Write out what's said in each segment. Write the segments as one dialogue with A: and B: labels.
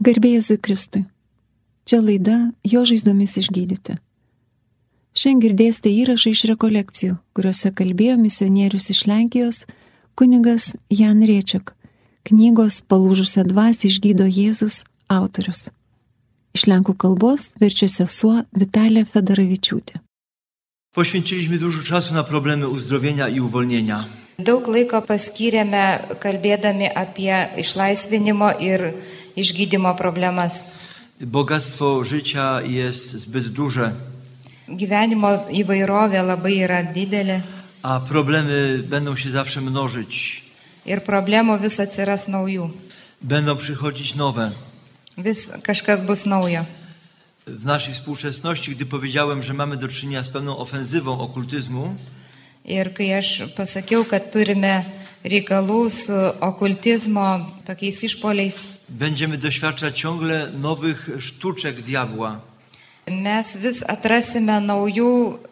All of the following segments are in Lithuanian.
A: Garbėjusui Kristui. Čia laida Jo žaizdomis išgydyti. Šiandien girdėsite įrašą iš rekolekcijų, kuriuose kalbėjo misionierius iš Lenkijos kunigas Jan Riečiak, knygos Palūžusią dvasį išgydo Jėzus autorius. Iš Lenkų kalbos verčia sesuo Vitalija Fedoravičiūtė.
B: Poświęciliśmy dużo czasu na problemy uzdrowienia i uwolnienia.
C: Daug laiko paskyrėme kalbėdami apie išlaisvinimo ir išgydymo problemas.
B: Bogactwo życia jest zbyt duże,
C: Gyvenimo įvairovė labai yra didelė
B: a problemy będą się zawsze mnożyć.
C: ir problemų vis atsiras naujų.
B: Będą przychodzić nowe.
C: Vis kažkas bus naujo.
B: W naszej współczesności, gdy powiedziałem, że mamy do czynienia z pewną ofensywą okultyzmu,
C: Ir kai aš pasakiau, kad turime reikalų su okultizmo tokiais išpoliais,
B: będziemy doświadczać ciągle nowych sztuczek diabła.
C: mes vis atrasime naujų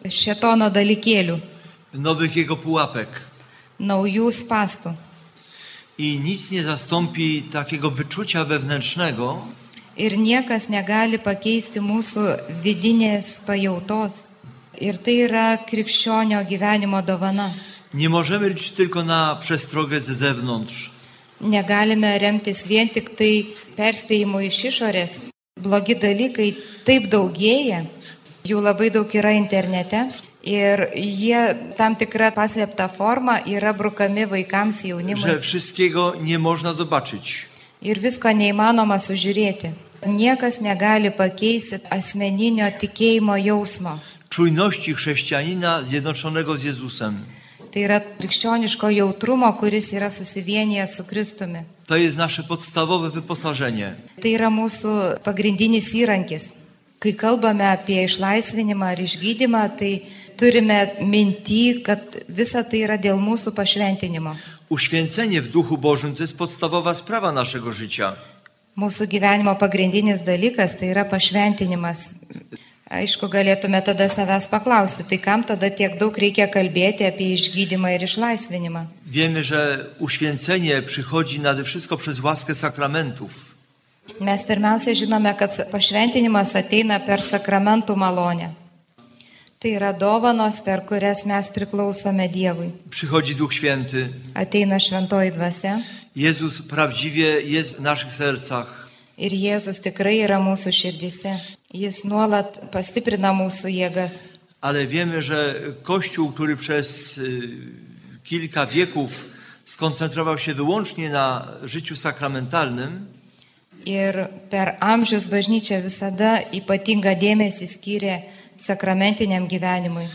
C: šetono dalykėlių,
B: nowych jego pułapek.
C: naujų spastų.
B: I nic nie zastąpi takiego wyczucia wewnętrznego,
C: Ir niekas negali pakeisti mūsų vidinės pajautos. Ir tai yra krikščionio gyvenimo dovana.
B: nie możemy liczyć tylko na przestrogę z zewnątrz.
C: Negalime remtis vien tik tai perspėjimu iš išorės. Blogi dalykai taip daugėja, jų labai daug yra internete ir jie tam tikrą paslėptą formą yra brukami vaikams jaunimui.
B: Że wszystkiego nie można zobaczyć.
C: Ir visko neįmanoma sužiūrėti. Niekas negali pakeisti asmeninio tikėjimo jausmo.
B: Czujności chrześcijanina zjednoczonego z Jezusem.
C: Tai yra krikščioniško jautrumo, kuris yra susivienijęs su Kristumi.
B: To jest nasze podstawowe wyposażenie.
C: Tai yra mūsų pagrindinis įrankis. Kai kalbame apie išlaisvinimą ar išgydymą, tai turime minti, kad visa tai yra dėl mūsų pašventinimo.
B: Uświęcenie w Duchu Bożym to jest podstawowa sprawa naszego życia.
C: Mūsų gyvenimo pagrindinis dalykas tai yra pašventinimas. Aišku, galėtume tada savęs paklausti, tai kam tada tiek daug reikia kalbėti apie išgydymą ir išlaisvinimą.
B: Wiemy, że uświęcenie przychodzi nade wszystko przez łaskę sakramentów.
C: Mes pirmiausia žinome, kad pašventinimas ateina per sakramentų malonę. Tai yra dovanos, per kurias mes priklausome Dievui.
B: Przychodzi Duch Święty,
C: Ateina šventoji dvasia
B: Jezus prawdziwie jest w naszych sercach.
C: ir Jėzus tikrai yra mūsų širdise. Jis nuolat pastiprina mūsų jėgas.
B: Ale wiemy, że Kościół, który przez y, kilka wieków skoncentrował się wyłącznie na życiu sakramentalnym,
C: Ir per amžius bažnyčia visada ypatingą dėmesį skyrė sakramentiniam gyvenimui.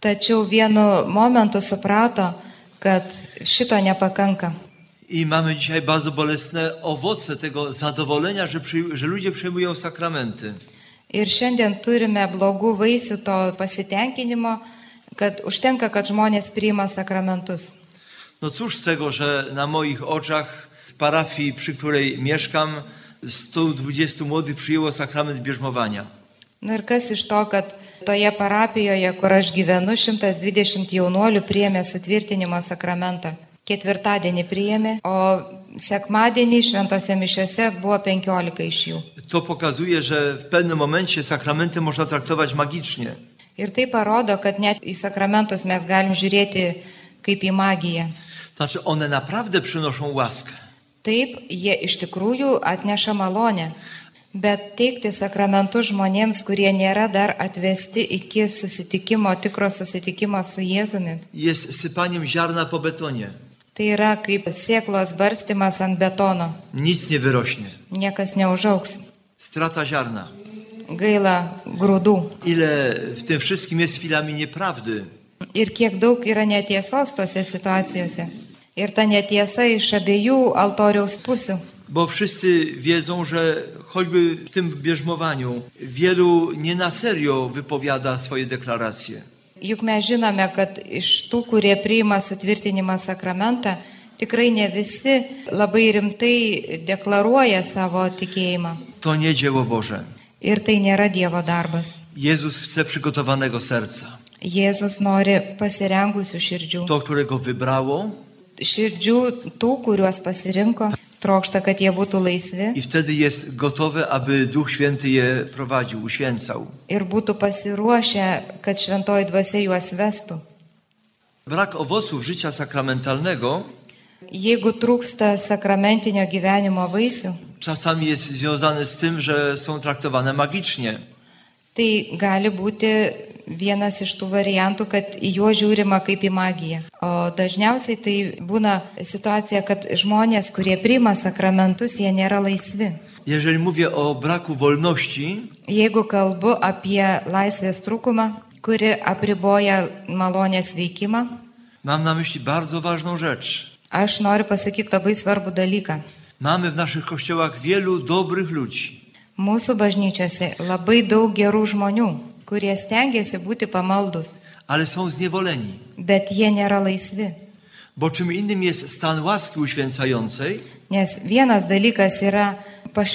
C: Tačiau vienu momentu suprato, kad šito nepakanka.
B: i mamy dzisiaj bardzo bolesne owoce tego zadowolenia, że, przy, że ludzie przyjmują sakramenty.
C: Ir šiandien turime blogų vaisių to pasitenkinimo, kad užtenka, kad žmonės priima sakramentus.
B: No cóż z tego, że na moich oczach w parafii, przy której mieszkam, 120 młodych przyjęło sakrament bierzmowania.
C: Na nu ir kas iš to, kad toje parapijoje, kur aš gyvenu, 120 jaunuolių priėmė sutvirtinimo sakramentą. Ketvirtadienį priėmė, o sekmadienį šventose mišiuose buvo 15 iš jų.
B: To pokazuje, że w pewnym momencie sakramenty można traktować magicznie.
C: Ir tai parodo, kad net į sakramentus mes galim žiūrėti kaip į magiją.
B: Znaczy, one naprawdę przynoszą łaskę,
C: Taip, jie iš tikrųjų atneša malonę, bet teikti sakramentus žmonėms, kurie nėra dar atvesti iki susitikimo, tikro susitikimo su Jėzumi.
B: jest sypaniem ziarna po betonie.
C: Tai yra kaip sėklos barstimas ant betono.
B: Nic nie wyrośnie.
C: Niekas neužauks.
B: Strata ziarna.
C: Gaila grūdų.
B: Ile w tym wszystkim jest chwilami nieprawdy.
C: Ir kiek daug yra netiesos tose situacijose. Ir ta netiesa iš abiejų altoriaus pusių.
B: Bo wszyscy wiedzą, że choćby w tym bierzmowaniu wielu nie na serio wypowiada swoje deklaracje.
C: Juk mes žinome, kad iš tų, kurie priima sutvirtinimą sakramentą, tikrai ne visi labai rimtai deklaruoja savo tikėjimą.
B: To nie dzieło Boże.
C: Ir tai nėra Dievo darbas.
B: Jezus chce przygotowanego serca.
C: Jėzus nori pasirengusių širdžių.
B: To, które go wybrało,
C: Širdžių tų, kuriuos pasirinko, trokšta, kad jie būtų laisvi
B: i wtedy jest gotowy, aby Duch Święty je prowadził, uświęcał.
C: ir būtų pasiruošę, kad šventoji dvasia juos vestų.
B: Brak owoców życia sakramentalnego
C: Jeigu trūksta sakramentinio gyvenimo vaisių,
B: czasami jest związany z tym, że są traktowane magicznie.
C: tai gali būti vienas iš tų variantų, kad į juos žiūrima kaip į magiją. O dažniausiai tai būna situacija, kad žmonės, kurie priima sakramentus, jie nėra laisvi.
B: Jeżeli mówię o braku wolności,
C: Jeigu kalbu apie laisvės trūkumą, kuri apriboja malonės veikimą,
B: mam na myśli bardzo ważną rzecz.
C: aš noriu pasakyti labai svarbų dalyką.
B: Mamy w naszych kościołach wielu dobrych ludzi,
C: Mūsų bažnyčiose labai daug gerų žmonių, kurie stengiasi būti pamaldus,
B: ale są zniewoleni,
C: bet jie nėra laisvi.
B: bo czym innym jest stan łaski uświęcającej,
C: Nes vienas dalykas yra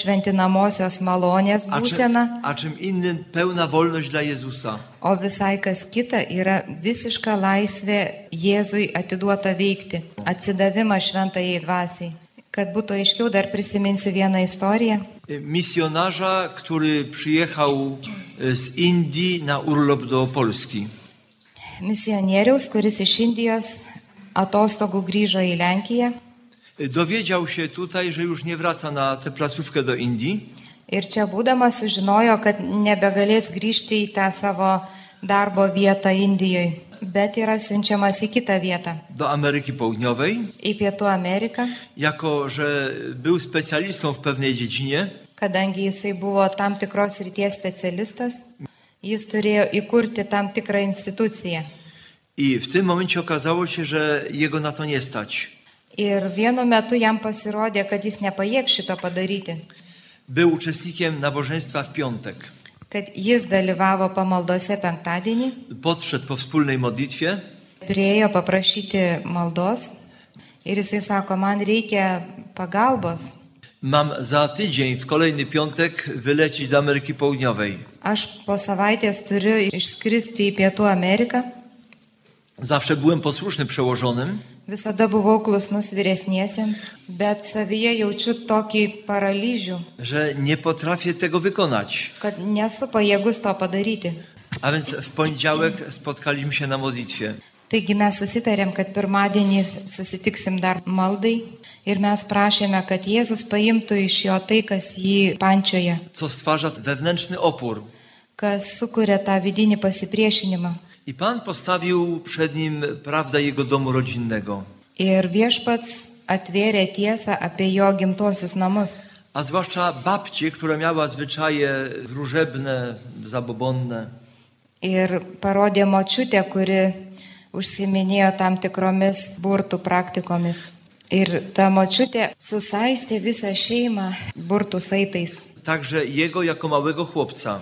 C: pašventinamosios malonės
B: a, czy,
C: būsena,
B: a czym innym pełna wolność dla Jezusa.
C: o visai kas kita yra visiška laisvė Jėzui atiduota veikti, atsidavimas šventajai dvasiai. Kad būtų aiškiau, dar prisiminsiu vieną istoriją.
B: Y, Misjonarza, który przyjechał y, z Indii na urlop do Polski.
C: Misionieriaus, kuris iš Indijos atostogų grįžo į Lenkiją
B: Y, Dowiedział się tutaj, że już nie wraca na tę placówkę do Indii.
C: Ir čia būdamas sužinojo, kad nebegalės grįžti į tą savo darbo vietą Indijoje, bet yra siunčiamas į kitą vietą -
B: do Ameryki Południowej,
C: į Pietų Ameriką,
B: jako że był specjalistą w pewnej dziedzinie,
C: kadangi jisai buvo tam tikros ryties specialistas, jis turėjo įkurti tam tikrą instituciją.
B: i w tym momencie okazało się, że jego na to nie stać.
C: Ir vienu metu jam pasirodė, kad jis nepajėg šito padaryti,
B: Był uczestnikiem nabożeństwa w piątek.
C: kad jis dalyvavo pamaldose penktadienį,
B: Podszedł po wspólnej modlitwie,
C: priejo paprašyti maldos ir jisai sako, man reikia pagalbos.
B: mam za tydzień, w kolejny piątek, wylecieć do Ameryki Południowej.
C: Aš po savaitės turiu išskristi į Pietų Ameriką.
B: Zawsze byłem posłuszny przełożonym,
C: Visada buvau klusnus vyresniesiems, bet savyje jaučiu tokį paralyžių,
B: że nie potrafię tego wykonać.
C: kad nesu pajėgus to padaryti.
B: A więc w poniedziałek spotkaliśmy się na modlitwie.
C: Taigi mes susitarėm, kad pirmadienį susitiksim dar maldai ir mes prašėme, kad Jėzus paimtų iš jo tai, kas jį pančioje,
B: co stwarza wewnętrzny opór.
C: kas sukuria tą vidinį pasipriešinimą.
B: I Pan postawił przed nim prawdę jego domu rodzinnego,
C: Ir viešpats atvėrė tiesą apie jo gimtuosius namus.
B: a zwłaszcza babcię, która miała zwyczaje wróżebne, zabobonne.
C: Ir parodė močiutę, kuri užsiminėjo tam tikromis burtų praktikomis. Ir ta močiutė susaistė visą šeimą burtų saitais.
B: Także jego jako małego chłopca.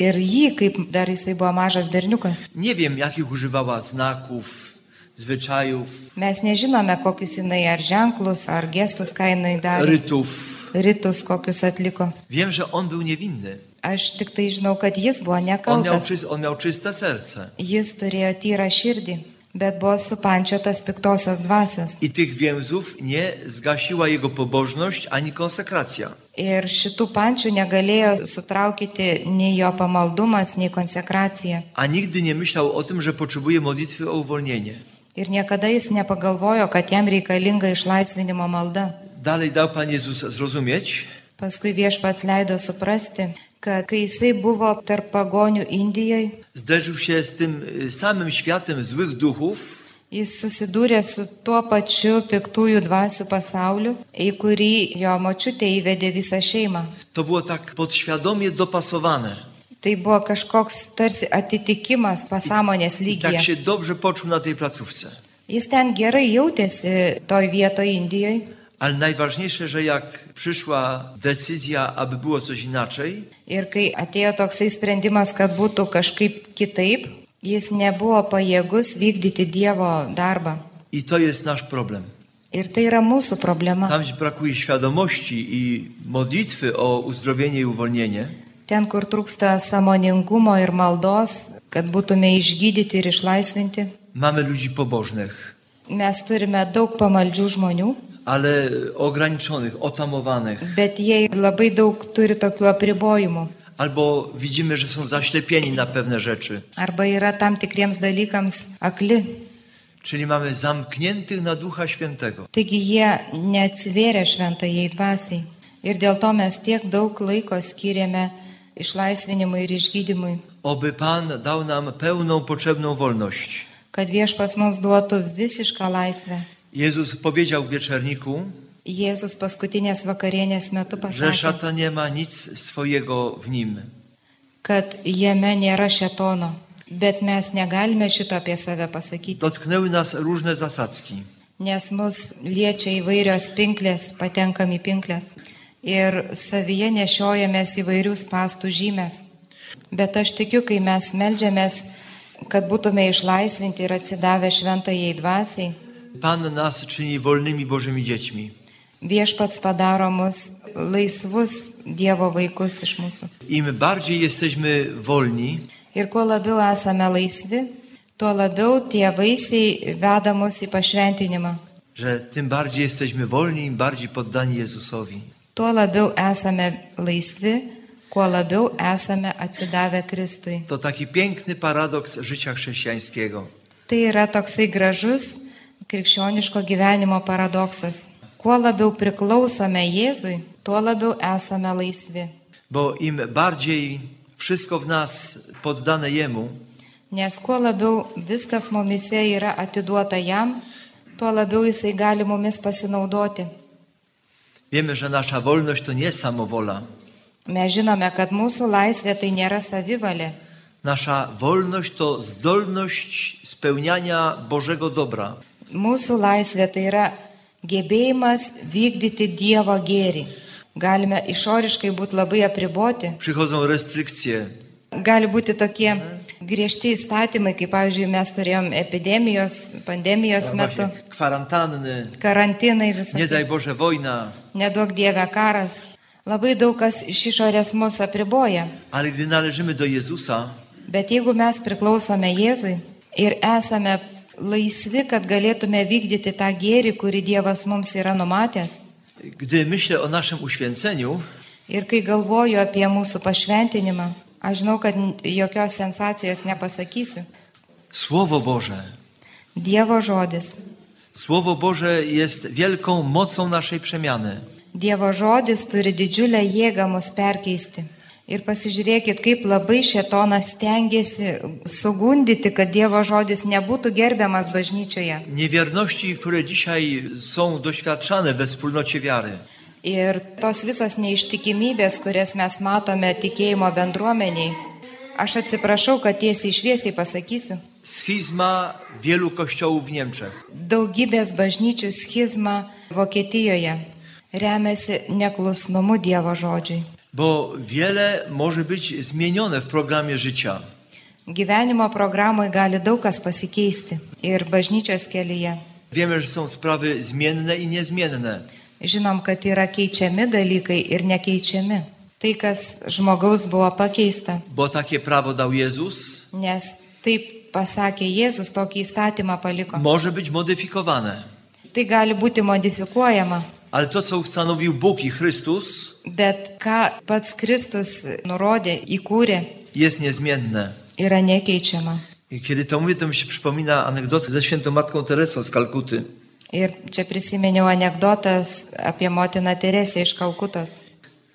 C: Ir jį, kaip dar jisai buvo mažas berniukas,
B: Nie wiem, jakich używała znaków, zwyczajów,
C: mes nežinome, kokius jinai ar ženklus, ar gestus ką jinai darė,
B: rytów.
C: rytus kokius atliko.
B: Wiem, że on był niewinny.
C: Aš tik tai žinau, kad jis buvo
B: On miał,
C: nekaltas.
B: czyst, on miał czyste serce.
C: Jis turėjo tyrą širdį, bet buvo supančiotas piktosios dvasios.
B: I tych więzów nie zgasiła jego pobożność ani konsekracja.
C: Ir šitų pančių negalėjo sutraukyti nei jo pamaldumas, nei konsekracija.
B: A nigdy nie myślał o tym, że potrzebuje modlitwy o uwolnienie.
C: Ir niekada jis nepagalvojo, kad jam reikalinga išlaisvinimo malda.
B: Dalej dał Pan Jezus zrozumieć,
C: Paskui viešpats leido suprasti, kad kai jisai buvo tarp pagonių Indijoje,
B: zderzył się z tym y, samym światem złych duchów,
C: jis susidūrė su tuo pačiu piktųjų dvasių pasauliu, į kurį jo močiutė įvedė visą šeimą.
B: to było tak podświadomie dopasowane.
C: Tai buvo kažkoks tarsi atitikimas pasąmonės
B: I tak
C: lygyje.
B: się dobrze poczuł na tej placówce.
C: Jis ten gerai jautėsi toj vietoje Indijoje.
B: Ale najważniejsze, że jak przyszła decyzja, aby było coś inaczej,
C: Ir kai atėjo toksai sprendimas, kad būtų kažkaip kitaip, jis nebuvo pajėgus vykdyti Dievo darbą.
B: i to jest nasz problem.
C: Ir tai yra mūsų problema.
B: Tam, gdzie brakuje świadomości i modlitwy o uzdrowienie i uwolnienie,
C: Ten, kur trūksta samoningumo ir maldos, kad būtume išgydyti ir išlaisvinti,
B: mamy ludzi pobożnych,
C: mes turime daug pamaldžių žmonių,
B: ale ograniczonych, otamowanych.
C: bet jie labai daug turi tokių apribojimų.
B: Albo widzimy, że są zaślepieni na pewne rzeczy.
C: Arba yra tam tikriems dalykams akli.
B: Czyli mamy zamkniętych na Ducha Świętego.
C: Taigi jie neatsivėrė šventajai dvasiai. Ir dėl to mes tiek daug laiko skiriame išlaisvinimui ir išgydymui,
B: Oby Pan dał nam pełną potrzebną wolność.
C: kad viešpas mums duotų visišką laisvę.
B: Jezus powiedział w wieczerniku,
C: Jėzus paskutinės vakarienės metu
B: że
C: pasakė,
B: szatan nie ma nic swojego w nim.
C: kad jame nėra šetono, bet mes negalime šito apie save pasakyti,
B: Dotknęły nas różne zasadzki.
C: nes mus liečia įvairios pinklės, patenkam į pinklės ir savyje nešiojamės įvairius pastų žymės. Bet aš tikiu, kai mes melžiamės, kad būtume išlaisvinti ir atsidavę šventajai dvasiai,
B: Pan nas czyni wolnymi Bożymi dziećmi.
C: viešpats padaro mus laisvus Dievo vaikus iš mūsų.
B: Im bardziej jesteśmy wolni,
C: Ir kuo labiau esame laisvi, tuo labiau tie vaisiai veda mus į pašventinimą.
B: że tym bardziej jesteśmy wolni, im bardziej poddani Jezusowi.
C: Tuo labiau esame laisvi, kuo labiau esame atsidavę Kristui.
B: To taki piękny paradoks życia chrześcijańskiego.
C: Tai yra toksai gražus krikščioniško gyvenimo paradoksas. Kuo labiau priklausome Jėzui, tuo labiau esame laisvi.
B: Bo im bardziej wszystko w nas poddane Jemu,
C: Nes kuo labiau viskas mumise yra atiduota jam, tuo labiau jisai gali mumis pasinaudoti.
B: wiemy, że nasza wolność to nie samowola.
C: Mes žinome, kad mūsų laisvė tai nėra savivalė.
B: Nasza wolność to zdolność spełniania Bożego dobra.
C: Mūsų laisvė tai yra gebėjimas vykdyti Dievo gėrį. Galime išoriškai būti labai apriboti.
B: Przychodzą restrykcje,
C: Gali būti tokie griežti įstatymai, kaip pavyzdžiui mes turėjom epidemijos, pandemijos metu,
B: właśnie kwarantanny,
C: karantinai
B: nie
C: visą.
B: daj Boże wojna.
C: Nedaug Dieve karas. Labai daug kas iš išorės mus apriboja.
B: Ale gdy należymy do Jezusa,
C: Bet jeigu mes priklausome Jėzui ir esame laisvi, kad galėtume vykdyti tą gėrį, kurį Dievas mums yra numatęs,
B: gdy myślę o naszym uświęceniu,
C: ir kai galvoju apie mūsų pašventinimą, aš žinau, kad n- jokios sensacijos nepasakysiu.
B: Słowo Boże,
C: Dievo žodis.
B: Słowo Boże jest wielką mocą naszej przemiany.
C: Dievo žodis turi didžiulę jėgą mus perkeisti. Ir pasižiūrėkit, kaip labai šetonas tengiasi sugundyti, kad Dievo žodis nebūtų gerbiamas bažnyčioje.
B: Niewierności, które dzisiaj są doświadczane we wspólnocie wiary,
C: Ir tos visos neištikimybės, kurias mes matome tikėjimo bendruomeniai, aš atsiprašau, kad tiesiai šviesiai pasakysiu,
B: schizma wielu kościołów w Niemczech,
C: daugybės bažnyčių schizma Vokietijoje remiasi neklusnumu Dievo žodžiui.
B: bo wiele może być zmienione w programie życia.
C: Gyvenimo programai gali daug kas pasikeisti ir bažnyčios kelyje.
B: Wiemy, że są sprawy zmienne i niezmienne.
C: Žinom, kad yra keičiami dalykai ir nekeičiami. Tai, kas žmogaus buvo pakeista,
B: Bo takie prawo dał Jezus,
C: nes taip pasakė Jėzus, tokį įstatymą paliko.
B: może być modyfikowane.
C: Tai gali būti modifikuojama,
B: Ale to, co ustanowił Bóg i Chrystus,
C: bet ką pats Kristus nurodė, įkūrė,
B: jest niezmienne.
C: yra nekeičiama.
B: I kiedy to mówię, to mi się przypomina anegdotę ze świętą matką Teresą z Kalkuty.
C: Ir čia prisiminiau anegdotas apie motiną Teresę iš Kalkutos.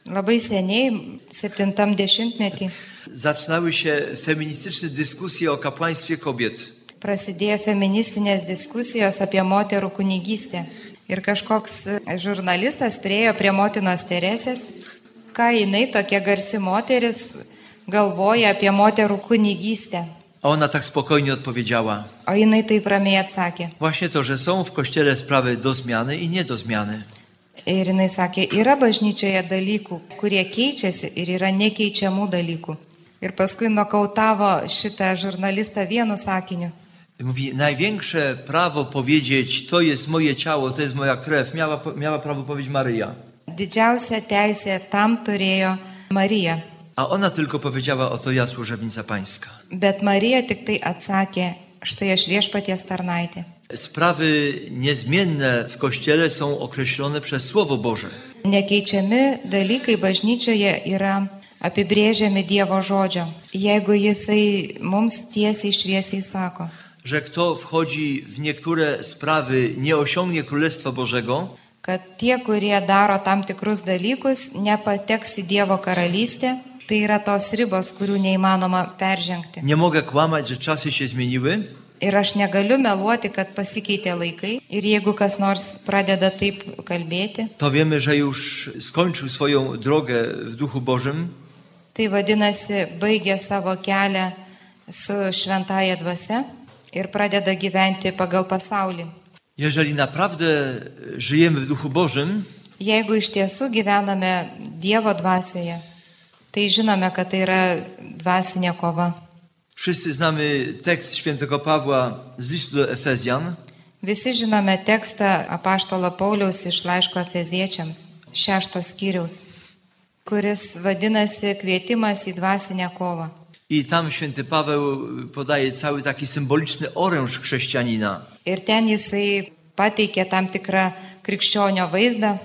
C: Labai seniai, 70-metį,
B: Zaczynały się feministyczne dyskusje o kapłaństwie kobiet.
C: prasidėjo feministinės diskusijos apie moterų kunigystę. Ir kažkoks žurnalistas priejo prie motinos Teresės, ką jinai tokia garsi moteris galvoja apie moterų kunigystę.
B: A ona tak spokojnie odpowiedziała:
C: O jinai taip ramiai atsakė.
B: Właśnie to, że są w kościele sprawy do zmiany i nie do zmiany.
C: Ir jinai sakė, yra bažnyčioje dalykų, kurie keičiasi ir yra nekeičiamų dalykų. Ir paskui nokautavo šitą žurnalistą vienu sakiniu.
B: Mówi: Największe prawo powiedzieć, to jest moje ciało, to jest moja krew, miała, miała prawo powiedzieć Maryja.
C: Didžiausia teisė tam turėjo Marija.
B: A ona tylko powiedziała: Oto ja służebnica pańska.
C: Bet Marija tik tai atsakė, štai aš viešpaties tarnaitė.
B: Sprawy niezmienne w Kościele są określone przez Słowo Boże.
C: Nekeičiami dalykai bažnyčioje yra apibrėžiami Dievo žodžio, jeigu jisai mums tiesiai šviesiai sako,
B: Że kto wchodzi w niektóre sprawy, nie osiągnie Królestwa Bożego,
C: kad tie, kurie daro tam tikrus dalykus, nepateks į Dievo karalystę, tai yra tos ribos, kurių neįmanoma peržengti.
B: nie mogę kłamać, że czasy się zmieniły,
C: Ir aš negaliu meluoti, kad pasikeitė laikai ir jeigu kas nors pradeda taip kalbėti,
B: to wiemy, że już skończył swoją drogę w Duchu Bożym,
C: tai vadinasi, baigė savo kelią su šventaja dvasia ir pradeda gyventi pagal pasaulį.
B: Jeżeli naprawdę żyjemy w Duchu Bożym,
C: Jeigu iš tiesų gyvename Dievo dvasioje, tai žinome, kad tai yra dvasinė kova.
B: wszyscy znamy tekst świętego Pawła z listu do Efezjan.
C: Visi žinome tekstą apaštalo Pauliaus iš laiško Efeziečiams, šeštos skyriaus, kuris vadinasi kvietimas į dvasinę kovą.
B: I tam święty Paweł podaje cały taki symboliczny oręż chrześcijanina.
C: Ir ten jisai pateikė tam tikrą krikščionio vaizdą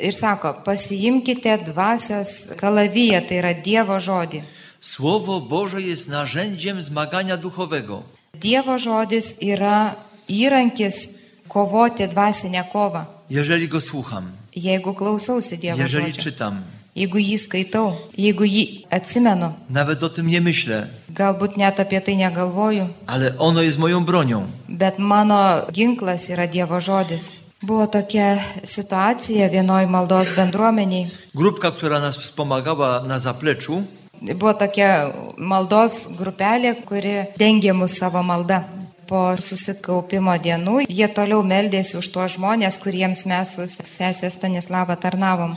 C: ir sako, pasiimkite dvasios kalaviją, tai yra Dievo žodį.
B: Słowo Boże jest narzędziem zmagania duchowego.
C: Dievo žodis yra įrankis kovoti dvasinę kovą,
B: Jeżeli go słucham,
C: jeigu klausausi Dievo
B: jeżeli
C: žodžio.
B: czytam,
C: Jeigu jį skaitau, jeigu jį atsimenu,
B: nawet o tym nie myślę,
C: galbūt net apie tai negalvoju,
B: ale ono jest moją bronią.
C: bet mano ginklas yra Dievo žodis. Buvo tokia situacija vienoj maldos bendruomeniai.
B: Grupka, która nas wspomagała na zapleczu,
C: Buvo tokia maldos grupelė, kuri dengė mus savo maldą. Po susikaupimo dienų jie toliau meldėsi už tuos žmonės, kuriems mes su sesė Stanislava tarnavom.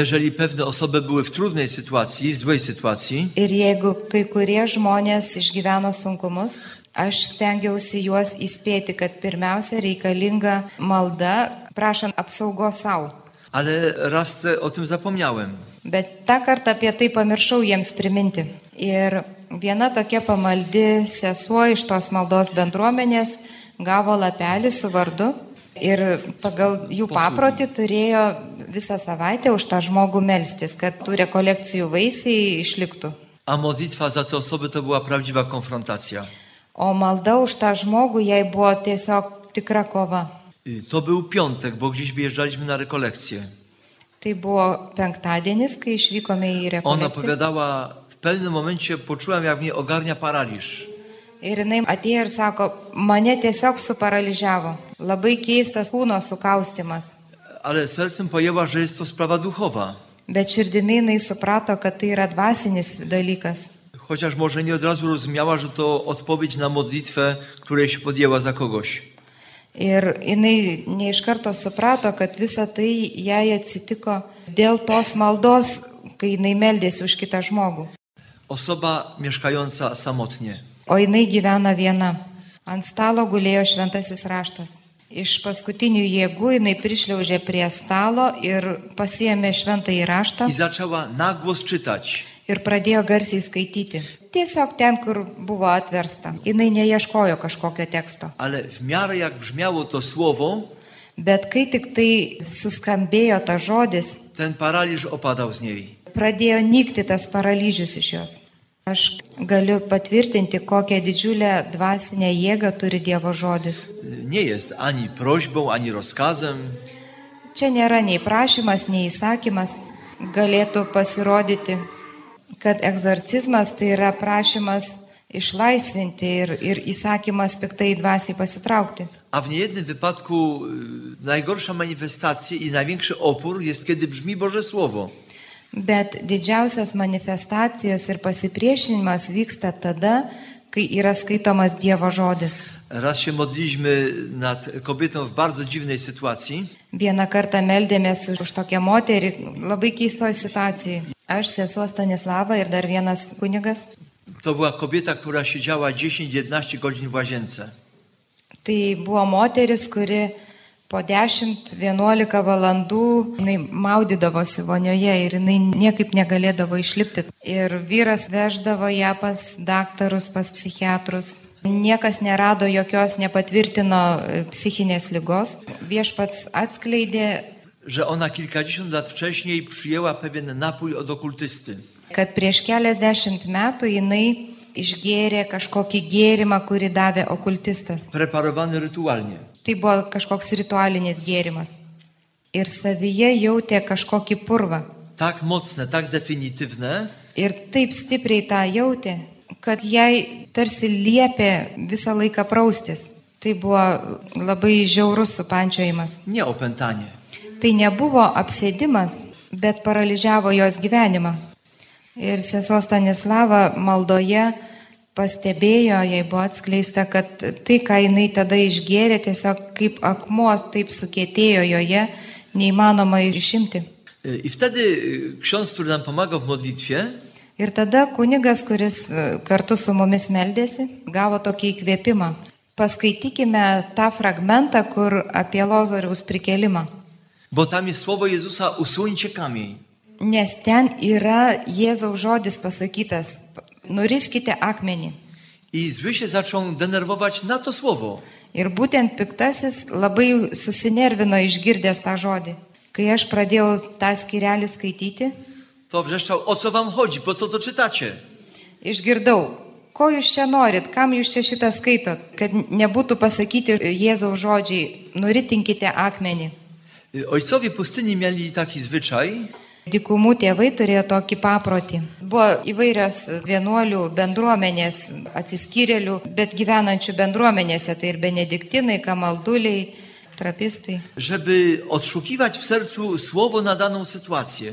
B: jeżeli pewne osoby były w trudnej sytuacji, w złej sytuacji,
C: Ir jeigu kai kurie žmonės išgyveno sunkumus, aš stengiausi juos įspėti, kad pirmiausia reikalinga malda, prašant apsaugos savo.
B: ale raz te, o tym zapomniałem.
C: Bet tą kartą apie tai pamiršau jiems priminti. Ir viena tokia pamaldi sesuo iš tos maldos bendruomenės gavo lapelį su vardu ir pagal jų paprotį turėjo visą savaitę už tą žmogų melstis, kad tų rekolekcijų vaisiai išliktų.
B: A modlitwa za te osoby to była prawdziwa konfrontacja.
C: O malda už tą žmogų jai buvo tiesiog tikra kova.
B: Y, To był piątek, bo gdzieś wyjeżdżaliśmy na rekolekcję.
C: Tai buvo penktadienis, kai išvykome į
B: Ona
C: rekolekcijas.
B: opowiadała, w pewnym momencie poczułam, jak mnie ogarnia paraliż.
C: Ir jinai atėjo ir sako, mane tiesiog suparalyžiavo. Labai keistas kūno sukaustimas.
B: Ale sercem pojęła, że jest to sprawa duchowa.
C: Bet širdimi jinai suprato, kad tai yra dvasinis dalykas.
B: Chociaż może nie od razu rozumiała, że to odpowiedź na modlitwę, której się podjęła za kogoś.
C: Ir jinai neiš karto suprato, kad visa tai jai atsitiko dėl tos maldos, kai jinai meldėsi už kitą žmogų.
B: Osoba mieszkająca samotnie.
C: O jinai gyvena viena. Ant stalo gulėjo šventasis raštas. Iš paskutinių jėgų jinai prišliaužė prie stalo ir pasiemė šventąjį raštą
B: I zaczęła nagłos czytać.
C: ir pradėjo garsiai skaityti. Tiesiog ten, kur buvo atversta. Jinai neieškojo kažkokio teksto.
B: Ale w miarę jak brzmiało to słowo,
C: Bet kai tik tai suskambėjo ta žodis,
B: ten paraliż opadał z niej.
C: pradėjo nykti tas paralyžius iš jos. Aš galiu patvirtinti, kokią didžiulę dvasinę jėgą turi Dievo žodis.
B: Y, Nie jest ani prośbą, ani rozkazem.
C: Čia nėra nei prašymas, nei įsakymas. Galėtų pasirodyti, kad egzorcizmas tai yra prašymas išlaisvinti ir, ir įsakymas piktai dvasiai pasitraukti.
B: A w niejednym wypadku y, najgorsza manifestacja i największy opór jest, kiedy brzmi Boże Słowo.
C: Bet didžiausios manifestacijos ir pasipriešinimas vyksta tada, kai yra skaitomas Dievo žodis.
B: Raz się modliliśmy nad kobietą w bardzo dziwnej sytuacji.
C: Vieną kartą meldėmės už tokią moterį labai keistoj situacijai. Aš, sesuo Stanislava ir dar vienas kunigas.
B: To była kobieta, która siedziała 10-11 godzin w łazience.
C: Tai buvo moteris, kuri po 10-11 valandų jinai maudydavosi vonioje ir jinai niekaip negalėdavo išlipti. Ir vyras veždavo ją pas daktarus, pas psichiatrus. Niekas nerado jokios, nepatvirtino e, psichinės lygos. Viešpats atskleidė,
B: że ona kilkadziesiąt lat wcześniej przyjęła pewien napój od okultysty.
C: kad prieš keliasdešimt metų jinai išgėrė kažkokį gėrimą, kurį davė okultistas.
B: preparowany rytualnie.
C: Tai buvo kažkoks ritualinis gėrimas. Ir savyje jautė kažkokį purvą.
B: Tak mocne, tak definitywne,
C: Ir taip stipriai tą jautė, kad jai tarsi liepė visą laiką praustis. Tai buvo labai žiaurus supančiojimas.
B: nie opętanie.
C: Tai nebuvo apsėdimas, bet paralyžiavo jos gyvenimą. Ir sesuo Stanislava maldoje pastebėjo, jai buvo atskleista, kad tai, ką jinai tada išgėrė, tiesiog kaip akmuo taip sukėtėjo joje, neįmanoma išimti.
B: Y, I wtedy y, ksiądz, który nam pomagał w modlitwie,
C: Ir tada kunigas, kuris e, kartu su mumis meldėsi, gavo tokį įkvėpimą. Paskaitykime tą fragmentą, kur apie Lozoriaus prikelimą.
B: bo tam jest słowo Jezusa, usuńcie kamień.
C: Nes ten yra Jėzaus žodis pasakytas, nuriskite akmenį.
B: I zły się zaczął denerwować na to słowo.
C: Ir būtent piktasis labai susinervino išgirdęs tą žodį. Kai aš pradėjau tą skirelį skaityti,
B: To wrzeszczał, o co wam chodzi, po co to czytacie?
C: išgirdau, ko jūs čia norit, kam jūs čia šitą skaitot, kad nebūtų pasakyti Jėzaus žodžiai, nuritinkite akmenį.
B: Y, Ojcowie pustyni mieli taki zwyczaj,
C: Dikumų tėvai turėjo tokį paprotį. Buvo įvairios vienuolių bendruomenės, atsiskyrėlių, bet gyvenančių bendruomenėse, tai ir benediktinai, kamalduliai, trapistai.
B: żeby odszukiwać w sercu słowo na daną sytuację.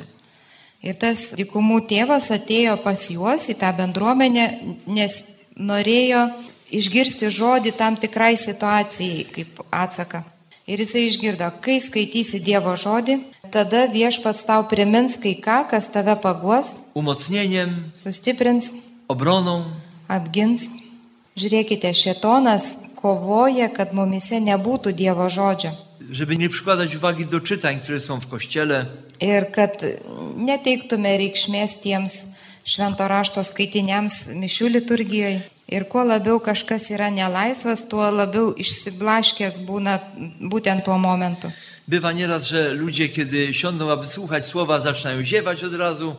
C: Ir tas dikumų tėvas atėjo pas juos į tą bendruomenę, nes norėjo išgirsti žodį tam tikrai situacijai kaip atsaką. Ir jisai išgirdo, kai skaitysi Dievo žodį, tada viešpats tau primins kai ką, kas tave paguos,
B: Umocnieniem,
C: sustiprins,
B: obroną,
C: apgins. Žiūrėkite, šetonas kovoja, kad mumise nebūtų Dievo žodžio.
B: żeby nie przykładać uwagi do czytań, które są w kościele,
C: Ir kad neteiktume reikšmės tiems švento rašto skaitiniams mišių liturgijoje. Ir kuo labiau kažkas yra nelaisvas, tuo labiau išsiblaškęs būna būtent tuo momentu.
B: Bywa nieraz, że ludzie, kiedy siądą, aby słuchać słowa, zaczynają ziewać od razu.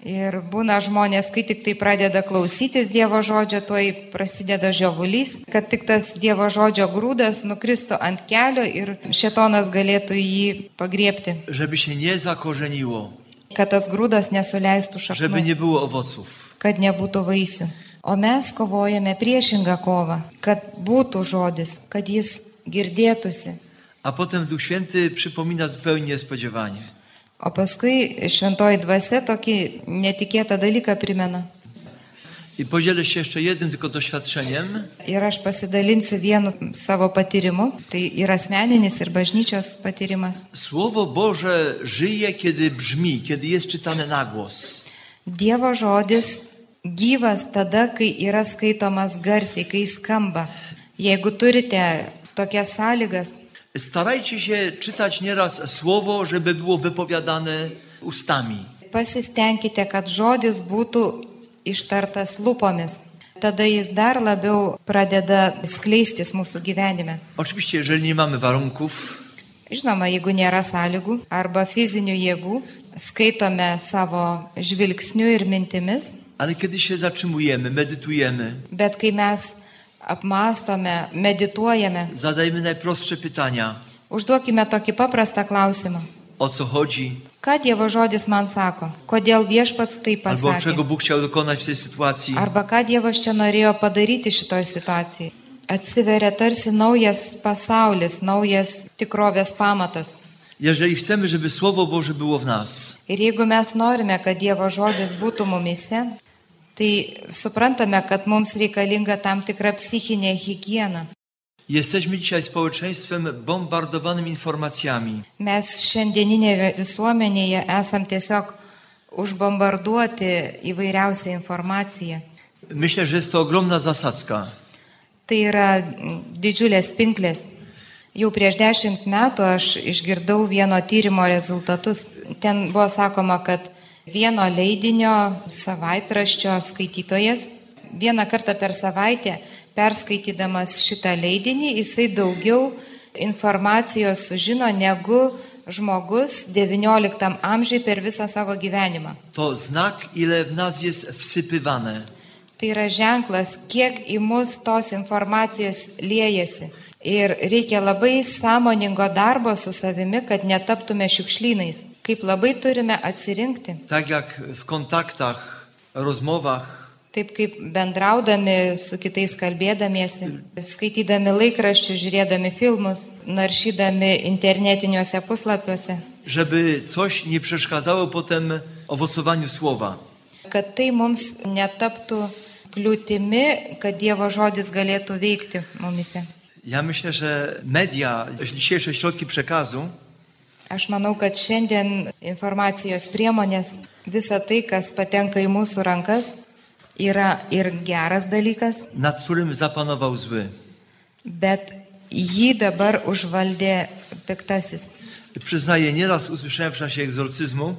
C: Ir būna žmonės, kai tik tai pradeda klausytis Dievo žodžio, tuoj prasideda žiovulys, kad tik tas Dievo žodžio grūdas nukristų ant kelio ir šetonas galėtų jį pagriepti,
B: Żeby się nie zakorzeniło,
C: kad tas grūdas nesuleistų šaknų.
B: żeby nie było owoców.
C: kad nebūtų vaisių. O mes kovojame priešingą kovą, kad būtų žodis, kad jis girdėtųsi.
B: A potem Duch Święty przypomina zupełnie niespodziewanie.
C: O paskui šventoji dvasia tokį netikėtą dalyką primena.
B: I podzielę się jeszcze jednym tylko doświadczeniem.
C: Ir aš pasidalinsiu vienu savo patyrimu, tai yra asmeninis ir bažnyčios patyrimas.
B: Słowo Boże żyje, kiedy brzmi, kiedy jest czytane na głos.
C: Dievo žodis gyvas tada, kai yra skaitomas garsiai, kai jis skamba. Jeigu turite tokias sąlygas,
B: Starajcie się czytać nieraz słowo, żeby było wypowiadane ustami.
C: Pasistengkite, kad žodis būtų ištartas lūpomis. Tada jis dar labiau pradeda skleistis mūsų gyvenime.
B: Oczywiście, jeżeli nie mamy warunków,
C: Žinoma, jeigu nėra sąlygų arba fizinių jėgų, skaitome savo žvilgsniu ir mintimis,
B: ale kiedy się zatrzymujemy, medytujemy,
C: bet kai mes apmastome, medituojame,
B: Zadajmy najprostsze pytania.
C: užduokime tokį paprastą klausimą.
B: O co chodzi?
C: Ką Dievo žodis man sako? Kodėl viešpats tai
B: Albo czego
C: pasakė?
B: Bóg chciał dokonać w tej sytuacji?
C: Arba ką Dievas čia norėjo padaryti šitoj situacijai. Atsiveria tarsi naujas pasaulis, naujas tikrovės pamatas.
B: Jeżeli chcemy, żeby Słowo Boże było w nas,
C: Ir jeigu mes norime, kad Dievo žodis būtų mumise, tai suprantame, kad mums reikalinga tam tikra psichinė higiena.
B: jesteśmy dzisiaj społeczeństwem bombardowanym informacjami.
C: Mes šiandieninėje visuomenėje esam tiesiog užbombarduoti įvairiausią informaciją.
B: Myślę, że jest to ogromna zasadzka.
C: Tai yra mm, didžiulės pinklės. Jau prieš dešimt metų aš išgirdau vieno tyrimo rezultatus. Ten buvo sakoma, kad vieno leidinio savaitraščio skaitytojas vieną kartą per savaitę perskaitydamas šitą leidinį, jisai daugiau informacijos sužino negu žmogus XIX amžiui per visą savo gyvenimą.
B: To znak, ile w nas jest wsypywane.
C: Tai yra ženklas, kiek į mus tos informacijos liejasi. Ir reikia labai sąmoningo darbo su savimi, kad netaptume šiukšlynais. Kaip labai turime atsirinkti.
B: Tak jak w kontaktach, rozmowach,
C: Taip kaip bendraudami su kitais kalbėdamiesi, skaitydami laikraščių, žiūrėdami filmus, naršydami internetiniuose puslapiuose,
B: żeby coś nie przeszkadzało potem owocowaniu słowa.
C: kad tai mums netaptų kliūtimi, kad Dievo žodis galėtų veikti mumise.
B: Ja myślę, że media, dzisiejsze środki przekazu
C: Aš manau, kad šiandien informacijos priemonės, visa tai, kas patenka į mūsų rankas, yra ir geras dalykas,
B: nad którym zapanował zły.
C: bet jį dabar užvaldė piktasis.
B: Przyznaję, nieraz usłyszałem w czasie egzorcyzmu,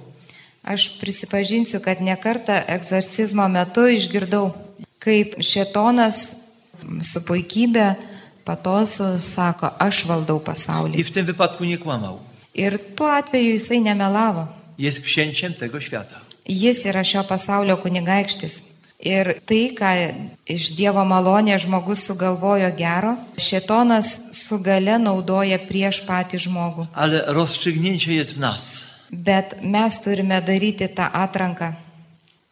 C: Aš prisipažinsiu, kad nekartą egzorcizmo metu išgirdau, kaip šetonas su puikybė patosu sako, aš valdau
B: i
C: pasaulį.
B: w tym wypadku nie kłamał.
C: Ir tuo atveju jisai nemelavo.
B: Jest księciem tego świata.
C: Jis yra šio pasaulio kunigaikštis. Ir tai, ką iš Dievo malonės žmogus sugalvojo gero, šetonas su gale naudoja prieš patį žmogų.
B: Ale rozstrzygnięcie jest w nas.
C: Bet mes turime daryti tą atranką.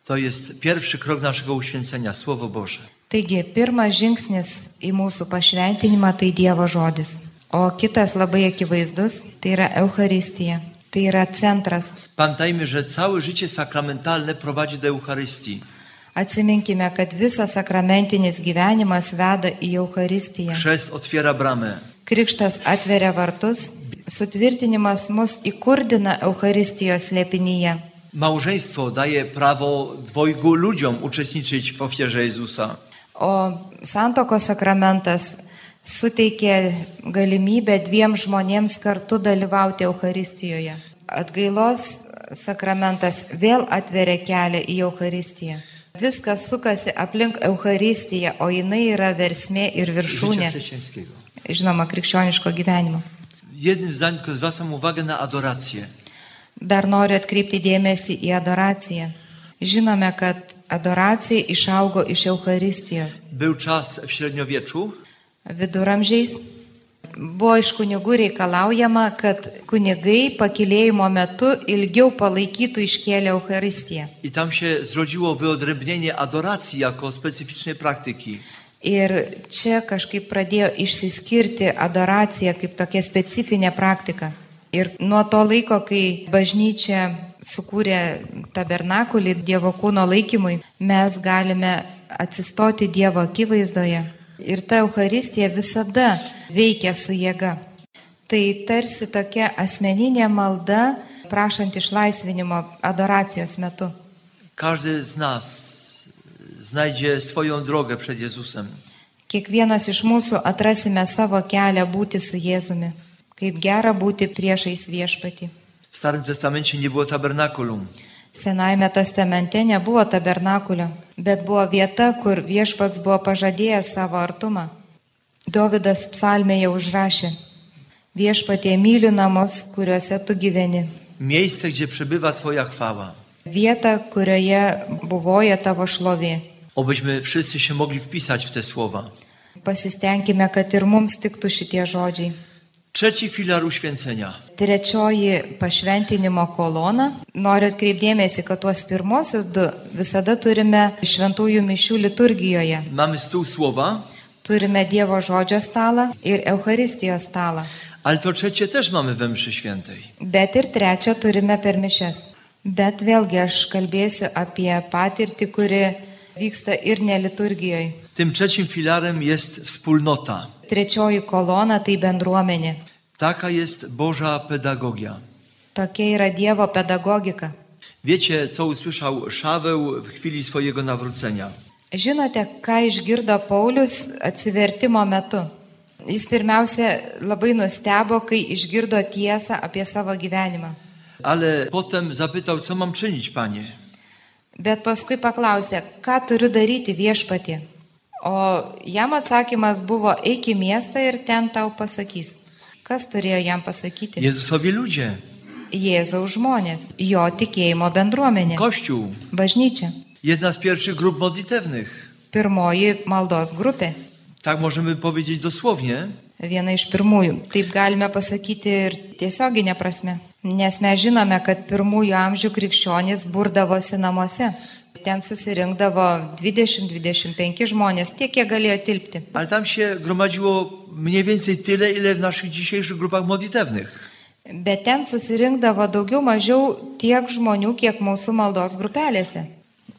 B: To jest pierwszy krok naszego uświęcenia, Słowo Boże.
C: Taigi, pirmas žingsnis į mūsų pašventinimą tai Dievo žodis. O kitas labai akivaizdus - tai yra Euharistija. Tai yra centras.
B: Pamiętajmy, że całe życie sakramentalne prowadzi do Eucharystii.
C: Atsiminkime, kad visas sakramentinis gyvenimas veda į Euharistiją.
B: Chrzest otwiera bramę.
C: Krikštas atveria vartus, sutvirtinimas mus įkurdina Euharistijos slėpinyje.
B: Małżeństwo daje prawo dwojgu ludziom uczestniczyć w ofierze Jezusa.
C: O santokos sakramentas suteikė galimybę dviem žmonėms kartu dalyvauti Euharistijoje. Atgailos sakramentas vėl atveria kelią į Euharistiją. Viskas sukasi aplink Euharistiją, o jinai yra versmė ir
B: Życia
C: viršūnė,
B: chrześcijańskiego.
C: žinoma, krikščioniško gyvenimo.
B: Jednym zdaniem tylko zwracam uwagę na adorację.
C: Dar noriu atkreipti dėmesį į adoraciją. Žinome, kad adoracija išaugo iš Euharistijos.
B: Był czas w średniowieczu,
C: Viduramžiais buvo iš kunigų reikalaujama, kad kunigai pakilėjimo metu ilgiau palaikytų iškėlę Euharistiją.
B: I tam się zrodziło wyodrębnienie adoracji jako specyficznej praktyki.
C: Ir čia kažkaip pradėjo išsiskirti adoracija kaip tokia specifinė praktika. Ir nuo to laiko, kai bažnyčia sukūrė tabernakulį Dievo kūno laikymui, mes galime atsistoti Dievo akivaizdoje. Ir ta Euharistija visada veikia su jėga. Tai tarsi tokia asmeninė malda, prašant išlaisvinimo adoracijos metu.
B: Każdy z nas znajdzie swoją drogę przed Jezusem.
C: Kiekvienas iš mūsų atrasime savo kelią būti su Jėzumi. Kaip gera būti priešais viešpatį.
B: W Starym Testamencie nie było tabernakulum.
C: Senajame testamente nebuvo tabernakulio, bet buvo vieta, kur viešpats buvo pažadėjęs savo artumą. Dovydas psalmėje užrašė, viešpatie myliu namus, kuriuose tu gyveni.
B: Miejsce, gdzie przebywa Twoja chwała.
C: Vieta, kurioje buvoja tavo šlovė.
B: Obyśmy wszyscy się mogli wpisać w te słowa.
C: Pasistengime, kad ir mums tiktų šitie žodžiai.
B: Trzeci filar uświęcenia.
C: Trečioji pašventinimo kolona. Noriu atkreipdėmėsi, kad tuos pirmosius du visada turime šventųjų mišių liturgijoje.
B: Mamy stół słowa,
C: Turime Dievo žodžio stalą ir Euharistijos stalą.
B: ale to trzecie też mamy we mszy świętej.
C: Bet ir trečią turime per mišes. Bet vėlgi aš kalbėsiu apie patirtį, kuri vyksta ir neliturgijoje.
B: Tym trzecim filarem jest wspólnota.
C: Trečioji kolona tai bendruomenė.
B: Taka jest Boża pedagogia.
C: Tokia yra Dievo pedagogika.
B: Wiecie, co usłyszał Szaweł w chwili swojego nawrócenia.
C: Žinote, ką išgirdo Paulius atsivertimo metu? Jis pirmiausia labai nustebo, kai išgirdo tiesą apie savo gyvenimą.
B: Ale potem zapytał, co mam czynić, panie?
C: Bet paskui paklausė, ką turiu daryti viešpatį. O jam atsakymas buvo eik į miestą ir ten tau pasakys. Kas turėjo jam pasakyti?
B: Jezusowi ludzie,
C: Jėzaus žmonės, jo tikėjimo bendruomenė,
B: Kościół.
C: bažnyčia,
B: Jedna z pierwszych grup modlitewnych.
C: pirmoji maldos grupė,
B: Tak możemy powiedzieć dosłownie.
C: viena iš pirmųjų. Taip galime pasakyti ir tiesioginė prasme, nes mes žinome, kad pirmųjų amžių krikščionys burdavosi namuose. Ten susirinkdavo 20-25 žmonės, tiek kiek galėjo tilpti.
B: Ale tam się gromadziło mniej więcej tyle, ile w naszych dzisiejszych grupach modlitewnych.
C: Bet ten susirinkdavo daugiau mažiau tiek žmonių, kiek mūsų maldos grupelėse.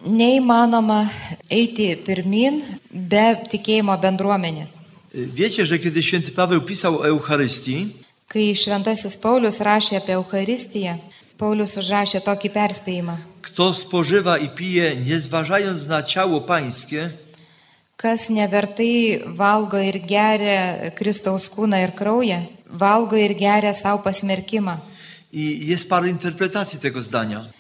C: Neįmanoma eiti pirmin be tikėjimo bendruomenės.
B: Y, Wiecie, że kiedy święty Paweł pisał o Eucharystii,
C: Kai šventasis Paulius rašė apie Eucharistiją, Paulius užrašė tokį perspėjimą.
B: kto spożywa i pije, nie zważając na ciało pańskie,
C: Kas nevertai valgo ir geria Kristaus kūną ir kraują, valgo ir geria savo pasmerkimą.
B: i jest parę interpretacji tego zdania.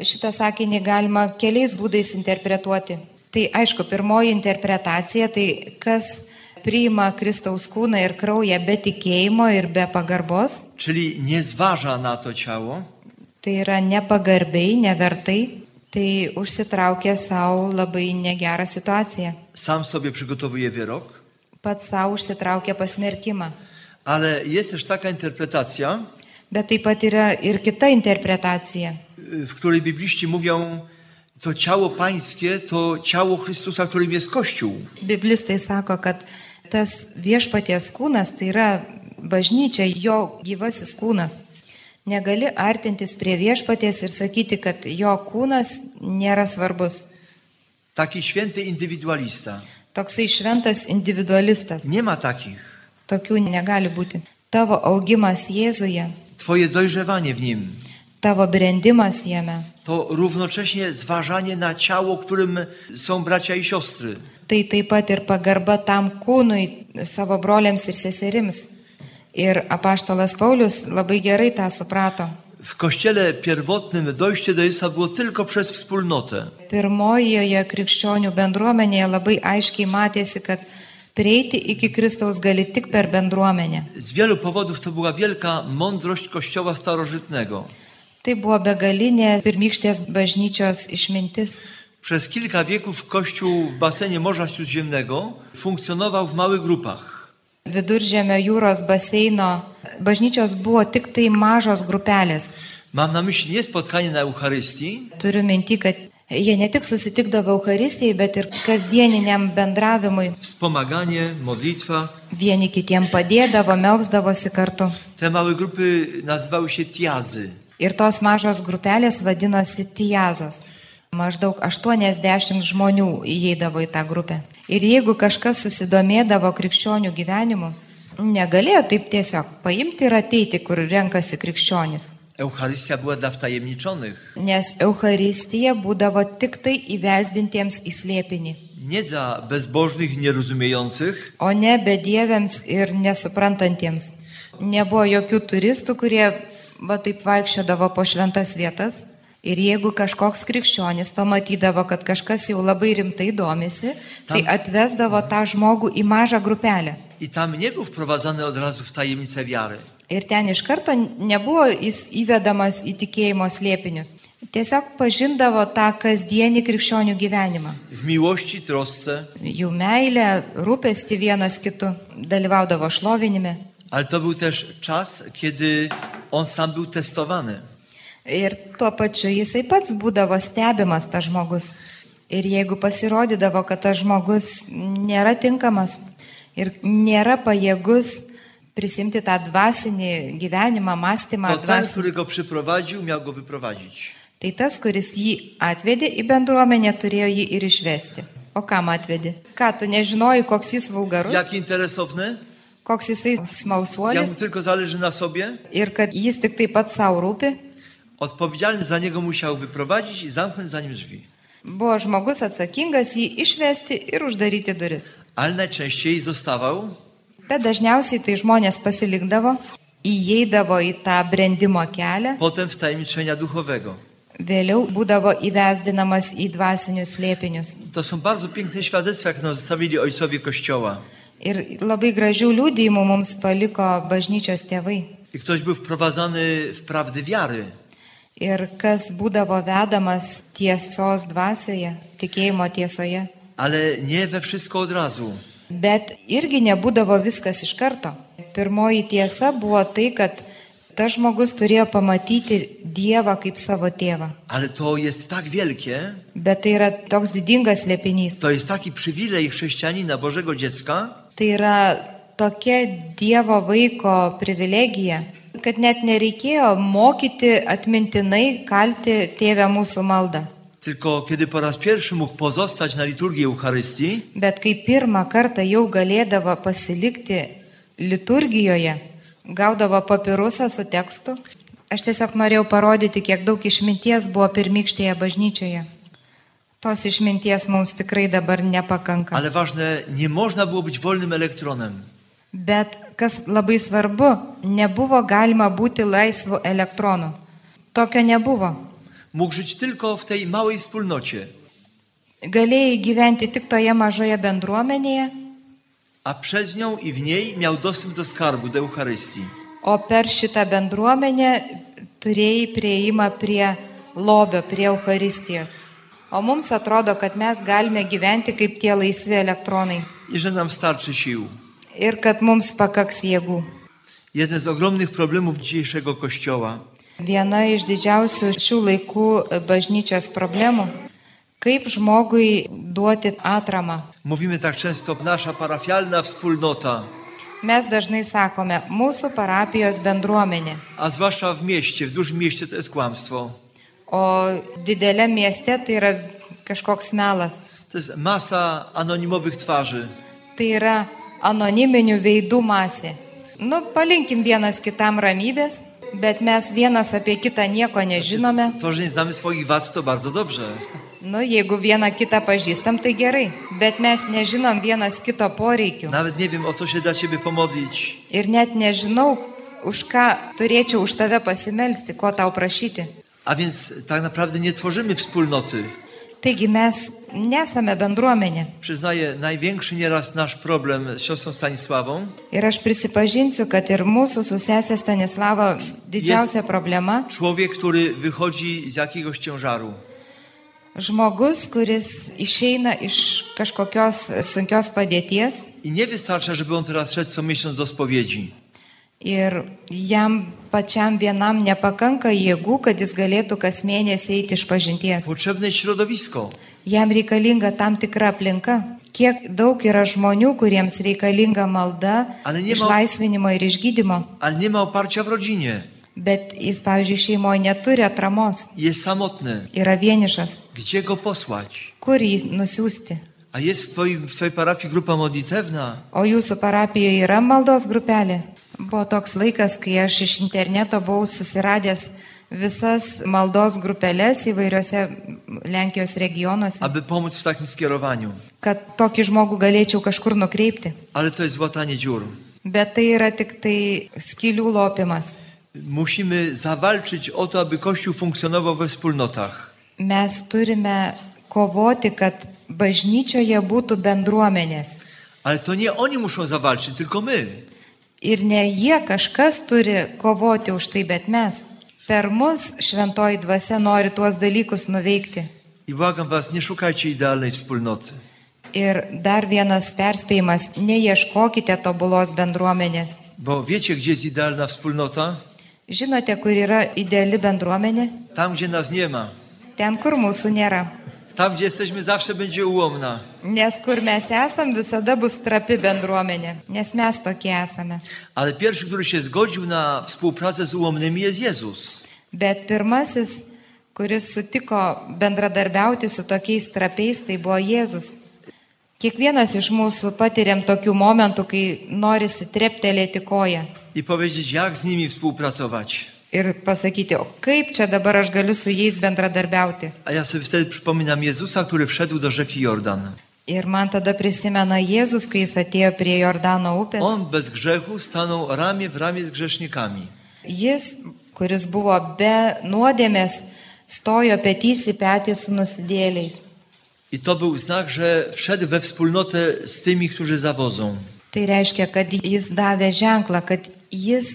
C: Šitą sakinį galima keliais būdais interpretuoti. Tai aišku, pirmoji interpretacija - tai kas priima Kristaus kūną ir kraują be tikėjimo ir be pagarbos,
B: Czyli nie zważa na to ciało,
C: tai yra nepagarbiai, nevertai, tai užsitraukia savo labai negerą situaciją.
B: sam sobie przygotowuje wyrok,
C: Pats savo užsitraukia pasmerkimą.
B: ale jest też taka interpretacja,
C: Bet taip pat yra ir kita interpretacija.
B: y, w której bibliści mówią, to ciało pańskie to ciało Chrystusa, którym jest Kościół.
C: Biblistai sako, kad tas viešpaties kūnas tai yra bažnyčia, jo gyvasis kūnas. Negali artintis prie viešpaties ir sakyti, kad jo kūnas nėra svarbus.
B: Taki święty indywidualista.
C: Toksai šventas individualistas.
B: Nie ma takich.
C: Tokių negali būti. Tavo augimas Jėzuje,
B: Twoje dojrzewanie w nim
C: tavo brendimas jame,
B: to równocześnie zważanie na ciało, którym są bracia i siostry.
C: tai taip pat ir pagarba tam kūnui savo broliams ir seserims. Ir apaštalas Paulius labai gerai tą suprato.
B: W kościele pierwotnym dojście do Jezusa było tylko przez wspólnotę.
C: Pirmojoje krikščionių bendruomenėje labai aiškiai matėsi, kad prieiti iki Kristaus gali tik per bendruomenę.
B: Z wielu powodów to była wielka mądrość Kościoła starożytnego.
C: Tai buvo begalinė pirmykštės bažnyčios išmintis.
B: Przez kilka wieków Kościół w basenie Morza Śródziemnego funkcjonował v małych grupach.
C: Viduržėmio jūros baseino bažnyčios buvo tik tai mažos grupelės.
B: Mam na myśli nie spotkanie na Eucharystii,
C: Turiu minti, kad jie ne tik susitikdavo Euharistijai, bet ir kasdieniniam bendravimui.
B: wspomaganie, modlitwa.
C: Vieni kitiem padėdavo, melzdavosi kartu.
B: Te małe grupy nazywały się tiazy.
C: Ir tos mažos grupelės vadinosi Tijazos. Maždaug 80 žmonių įeidavo į tą grupę. Ir jeigu kažkas susidomėdavo krikščionių gyvenimu, negalėjo taip tiesiog paimti ir ateiti, kur renkasi krikščionis.
B: Eucharystia była dla wtajemniczonych,
C: Nes Euharistija būdavo tik tai įvesdintiems į slėpinį,
B: nie dla bezbożnych i nierozumiejących,
C: o ne bedieviams ir nesuprantantiems. Nebuvo jokių turistų, kurie va taip vaikščiodavo po šventas vietas. Ir jeigu kažkoks krikščionis pamatydavo, kad kažkas jau labai rimtai domisi, tai
B: Tam-
C: atvesdavo tą žmogų į mažą grupelę.
B: I tam nie był wprowadzany od razu w tajemnicę wiary.
C: Ir ten iš karto nebuvo jis įvedamas į tikėjimo slėpinius. Tiesiog pažindavo tą kasdienį krikščionių gyvenimą.
B: W miłości, trosce,
C: Jų meilę, rūpesti vienas kitu, dalyvaudavo šlovinime.
B: ale to był też czas, kiedy on sam był testowany.
C: Ir tuo pačiu jisai pats būdavo stebimas tas žmogus. Ir jeigu pasirodydavo, kad tas žmogus nėra tinkamas ir nėra pajėgus prisimti tą dvasinį gyvenimą, mąstymą,
B: To ten,
C: dvasinį,
B: który go przyprowadził, miał go wyprowadzić.
C: tai tas, kuris jį atvedė į bendruomenę, turėjo jį ir išvesti. O kam atvedė? Ką tu nežinojai, koks jis vulgarus,
B: Jak interesowny?
C: koks jisai
B: Jak mu
C: smalsuolis
B: tylko zależy na sobie?
C: ir kad jis tik taip pat savo rūpi?
B: Odpowiedzialny za niego musiał wyprowadzić i zamknąć za nim drzwi.
C: Buvo žmogus atsakingas jį išvesti ir uždaryti duris.
B: Ale najczęściej zostawał
C: Bet dažniausiai tai žmonės pasilikdavo, įeidavo į tą brendimo kelią,
B: potem wtajemniczenia duchowego.
C: vėliau būdavo įvesdinamas į dvasinius slėpinius.
B: To są bardzo piękne świadectwa, jak nam zostawili ojcowie Kościoła.
C: Ir labai gražių liūdėjimų mums paliko bažnyčios tėvai.
B: I ktoś był wprowadzany w prawdy wiary.
C: Ir kas būdavo vedamas tiesos dvasioje, tikėjimo tiesoje.
B: Ale nie we wszystko od razu.
C: Bet irgi nebūdavo viskas iš karto. Pirmoji tiesa buvo tai, kad tas žmogus turėjo pamatyti Dievą kaip savo tėvą.
B: Ale to jest tak wielkie,
C: Bet tai yra toks didingas lėpinys.
B: to jest taki przywilej chrześcijanina, Bożego dziecka,
C: Tai yra tokia Dievo vaiko privilegija, kad net nereikėjo mokyti atmintinai kalti tėvę mūsų maldą.
B: tylko kiedy po raz pierwszy mógł pozostać na liturgii Eucharystii,
C: Bet kai pirmą kartą jau galėdavo pasilikti liturgijoje, gaudavo papirusą su tekstu, aš tiesiog norėjau parodyti, kiek daug išminties buvo pirmykštėje bažnyčioje. Tos išminties mums tikrai dabar nepakanka.
B: ale ważne, nie można było być wolnym elektronem.
C: Bet kas labai svarbu, nebuvo galima būti laisvu elektronu. Tokio nebuvo.
B: Mógł żyć tylko w tej małej wspólnocie,
C: Galėjai gyventi tik toje mažoje bendruomenėje,
B: a przez nią i w niej miał dostęp do skarbu, do Eucharystii.
C: o per šitą bendruomenę turėjai prieimą prie lobio, prie Euharistijos. O mums atrodo, kad mes galime gyventi kaip tie laisvi elektronai
B: I że nam starczy sił.
C: ir kad mums pakaks jėgų.
B: Jeden z ogromnych problemów dzisiejszego Kościoła
C: Viena iš didžiausių šių laikų bažnyčios problemų - kaip žmogui duoti atramą.
B: Mówimy tak często, nasza parafialna wspólnota,
C: Mes dažnai sakome, mūsų parapijos bendruomenė,
B: a zwłaszcza w mieście, w dużym mieście to jest kłamstwo.
C: o didelė mieste tai yra kažkoks melas.
B: To jest masa anonimowych twarzy.
C: Tai yra anoniminių veidų masė. Nu, palinkim vienas kitam ramybės, bet mes vienas apie kitą nieko nežinome.
B: To, że nie znamy swoich wad, to bardzo dobrze.
C: Nu, jeigu vieną kitą pažįstam, tai gerai, bet mes nežinom vienas kito poreikių.
B: Nawet nie wiem, o co się dla ciebie pomodlić.
C: Ir net nežinau, už ką turėčiau už tave pasimelsti, ko tau prašyti.
B: A więc tak naprawdę nie tworzymy wspólnoty.
C: Taigi mes nesame bendruomenė.
B: Przyznaję, największy nieraz nasz problem z siostrą Stanisławą
C: Ir aš prisipažinsiu, kad ir mūsų su sesė Stanislava didžiausia problema
B: człowiek, który wychodzi z jakiegoś ciężaru.
C: - žmogus, kuris išeina iš kažkokios sunkios padėties
B: I nie wystarcza, żeby on teraz szedł co miesiąc do spowiedzi.
C: ir jam pačiam vienam nepakanka jėgų, kad jis galėtų kas mėnesį eiti iš pažinties.
B: Potrzebne jest środowisko.
C: Jam reikalinga tam tikra aplinka. Kiek daug yra žmonių, kuriems reikalinga malda,
B: Ale nie ma-
C: išlaisvinimo ir išgydymo,
B: ale nie ma oparcia w rodzinie.
C: bet jis, pavyzdžiui, šeimoje neturi atramos,
B: Jest samotny.
C: yra vienišas.
B: Gdzie go posłać?
C: Kur jį nusiųsti?
B: A jest w, twoim, w twojej parafii grupa modlitewna?
C: O jūsų parapijoje yra maldos grupelė? Buvo toks laikas, kai aš iš interneto buvau susiradęs visas maldos grupelės įvairiose Lenkijos regionuose,
B: aby pomóc w takim skierowaniu.
C: kad tokį žmogų galėčiau kažkur nukreipti.
B: Ale to jest łatanie dziur.
C: Bet tai yra tik tai skilių lopimas.
B: Musimy zawalczyć o to, aby Kościół funkcjonował we wspólnotach.
C: Mes turime kovoti, kad bažnyčioje būtų bendruomenės.
B: Ale to nie oni muszą zawalczyć, tylko my.
C: Ir ne jie kažkas turi kovoti už tai, bet mes. Per mus šventoji dvasia nori tuos dalykus nuveikti.
B: I błagam was, nie szukajcie idealnej wspólnoty.
C: Ir dar vienas perspėjimas - neieškokite tobulos bendruomenės.
B: Bo wiecie, gdzie jest idealna wspólnota?
C: Žinote, kur yra ideali bendruomenė?
B: Tam, gdzie nas nie ma.
C: Ten, kur mūsų nėra.
B: Tam, gdzie jesteśmy, zawsze będzie ułomna.
C: Nes kur mes esam, visada bus trapi bendruomenė, nes mes tokie esame.
B: Ale pierwszy, który się zgodził na współpracę z ułomnymi jest Jezus.
C: Bet pirmasis, kuris sutiko bendradarbiauti su tokiais trapiais, tai buvo Jėzus. Kiekvienas iš mūsų patiriam tokių momentų, kai norisi treptelėti koją
B: I powiedzieć, jak z nimi współpracować.
C: ir pasakyti, o kaip čia dabar aš galiu su jais bendradarbiauti.
B: A ja sobie wtedy przypominam Jezusa, który wszedł do rzeki Jordan.
C: Ir man tada prisimena Jėzus, kai jis atėjo prie Jordano upės.
B: On bez grzechu stanął ramię w ramię z grzesznikami.
C: Jis, kuris buvo be nuodėmės, stojo petys į petį su nusidėliais.
B: I to był znak, że wszedł we wspólnotę z tymi, którzy zawodzą.
C: Tai reiškia, kad jis davė ženklą, kad jis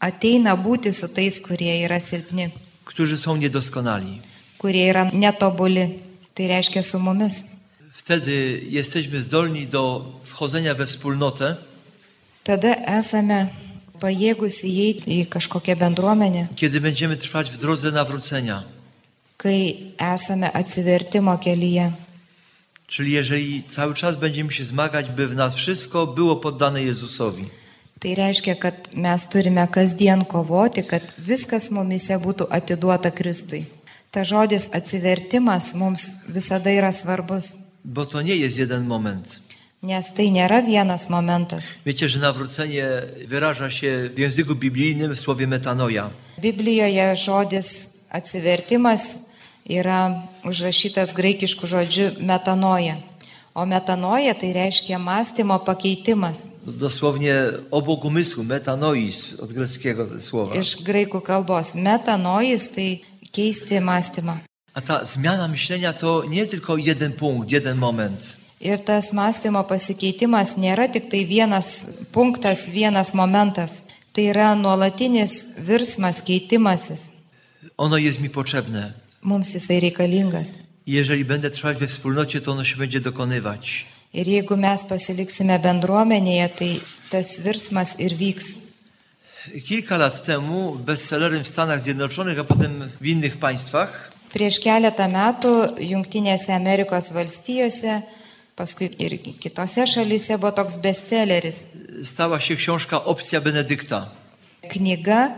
C: ateina būti su tais, kurie yra silpni,
B: którzy są niedoskonali.
C: kurie yra netobuli. Tai reiškia su mumis.
B: Wtedy jesteśmy zdolni do wchodzenia we wspólnotę,
C: Tada esame pajėgus įeiti į kažkokią bendruomenę,
B: kiedy będziemy trwać w drodze nawrócenia.
C: kai esame atsivertimo kelyje.
B: Czyli jeżeli cały czas będziemy się zmagać, by w nas wszystko było poddane Jezusowi.
C: Tai reiškia, kad mes turime kasdien kovoti, kad viskas mumise būtų atiduota Kristui. Ta žodis atsivertimas mums visada yra svarbus,
B: Bo to nie jest jeden moment.
C: nes tai nėra vienas momentas.
B: Wiecie, że nawrócenie wyraża się w języku biblijnym w słowie metanoja.
C: Biblijoje žodis atsivertimas yra užrašytas graikiškų žodžių metanoja. O metanoja tai reiškia mąstymo pakeitimas.
B: Dosłownie obok umysłu, metanois od greckiego te słowa.
C: Iš graikų kalbos metanojas tai keisti mąstymą.
B: A ta zmiana myślenia to nie tylko jeden punkt, jeden moment.
C: Ir tas mąstymo pasikeitimas nėra tik tai vienas punktas, vienas momentas. Tai yra nuolatinis virsmas, keitimasis.
B: Ono jest mi potrzebne.
C: Mums jisai reikalingas.
B: I Jeżeli będę trwać we wspólnocie, to ono się będzie dokonywać.
C: Ir jeigu mes pasiliksime bendruomenėje, tai tas virsmas ir vyks.
B: Kilka lat temu bestsellerem w Stanach Zjednoczonych, a potem w innych państwach
C: Prieš keletą metų Junktinėse Amerikos valstijose, paskui ir kitose šalyse buvo toks bestselleris.
B: stała się książka Opcja Benedykta.
C: Knyga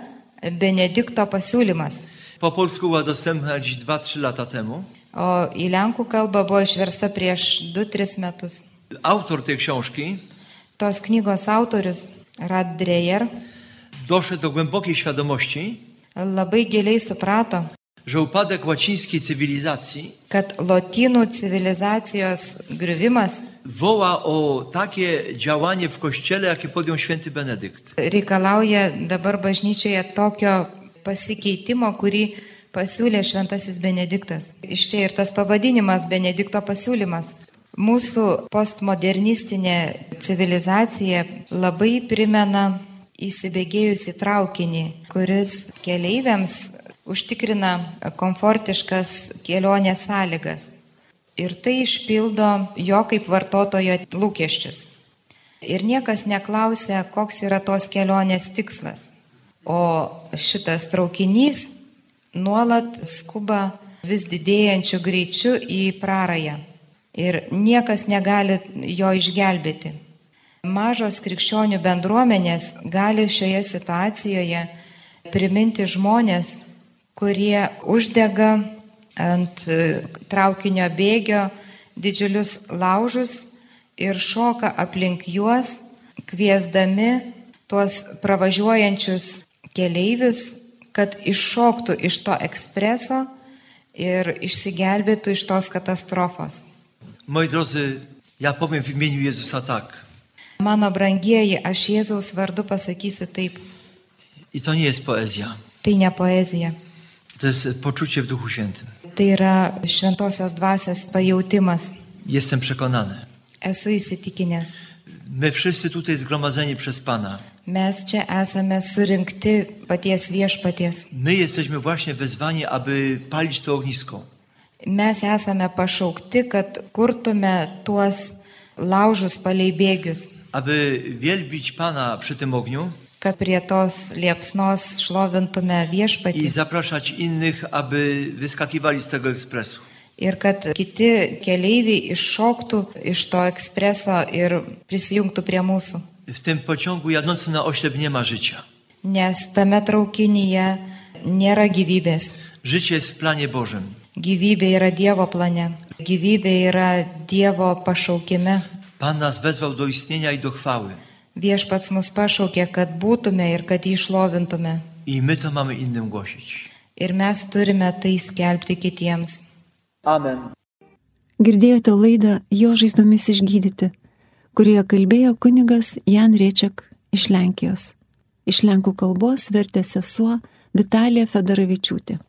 C: Benedikto pasiūlymas.
B: Po polsku była dostępna gdzieś 2-3 lata temu.
C: O į lenkų kalbą buvo išversta prieš 2-3 metus.
B: Autor tej książki
C: Tos knygos autorius Rad Dreyer
B: doszedł do głębokiej świadomości,
C: labai giliai suprato,
B: że upadek łacińskiej cywilizacji
C: kad lotynų civilizacijos griuvimas
B: woła o takie działanie w Kościele, jakie podjął święty Benedykt.
C: reikalauja dabar bažnyčioje tokio pasikeitimo, kurį pasiūlė Šventasis Benediktas. Iš čia ir tas pavadinimas Benedikto pasiūlymas. Mūsų postmodernistinė civilizacija labai primena įsibėgėjusi traukinį, kuris keleiviams užtikrina komfortiškas kelionės sąlygas. Ir tai išpildo jo kaip vartotojo lūkesčius. Ir niekas neklausia, koks yra tos kelionės tikslas. O šitas traukinys nuolat skuba vis didėjančiu greičiu į prarąją. Ir niekas negali jo išgelbėti. Mažos krikščionių bendruomenės gali šioje situacijoje priminti žmonės, kurie uždega ant e, traukinio bėgio didžiulius laužus ir šoka aplink juos, kviesdami tuos pravažiuojančius keleivius, kad iššoktų iš to ekspreso ir išsigelbėtų iš tos katastrofos.
B: Moi drodzy, ja powiem w imieniu Jezusa tak.
C: Mano brangieji, aš Jėzaus vardu pasakysiu taip,
B: I to nie jest poezja.
C: tai ne poezija,
B: To jest poczucie w Duchu Świętym.
C: tai yra šventosios dvasios pajūtimas.
B: Jestem przekonany.
C: Esu įsitikinęs,
B: My wszyscy tutaj zgromadzeni przez Pana,
C: mes čia esame surinkti paties viešpaties.
B: my jesteśmy właśnie wezwani, aby palić to ognisko.
C: Mes esame pašaukti, kad kurtume tuos laužus palei bėgius,
B: Aby wielbić Pana przy tym ogniu
C: kad prie tos liepsnos šlovintume
B: i
C: viešpatį
B: zapraszać innych, aby wyskakiwali z tego ekspresu.
C: ir kad kiti keleiviai iššoktų iš to ekspreso ir prisijungtų prie mūsų.
B: W tym pociągu jadącym na oślep nie ma życia.
C: Nes tame traukinyje nėra gyvybės.
B: Życie jest w planie Bożym.
C: Gyvybė yra Dievo plane. Gyvybė yra Dievo pašaukime.
B: Pan nas wezwał do istnienia i do chwały.
C: Viešpats mus pašaukė, kad būtume ir kad jį šlovintume.
B: I my to mamy innym głosić.
C: Ir mes turime tai skelbti kitiems.
B: Amen.
A: Girdėjote laidą Jo žaizdomis išgydyti, kurioje kalbėjo kunigas Jan Riečiak iš Lenkijos. Iš lenkų kalbos vertė sesuo Vitalija Fedaravičiūtė.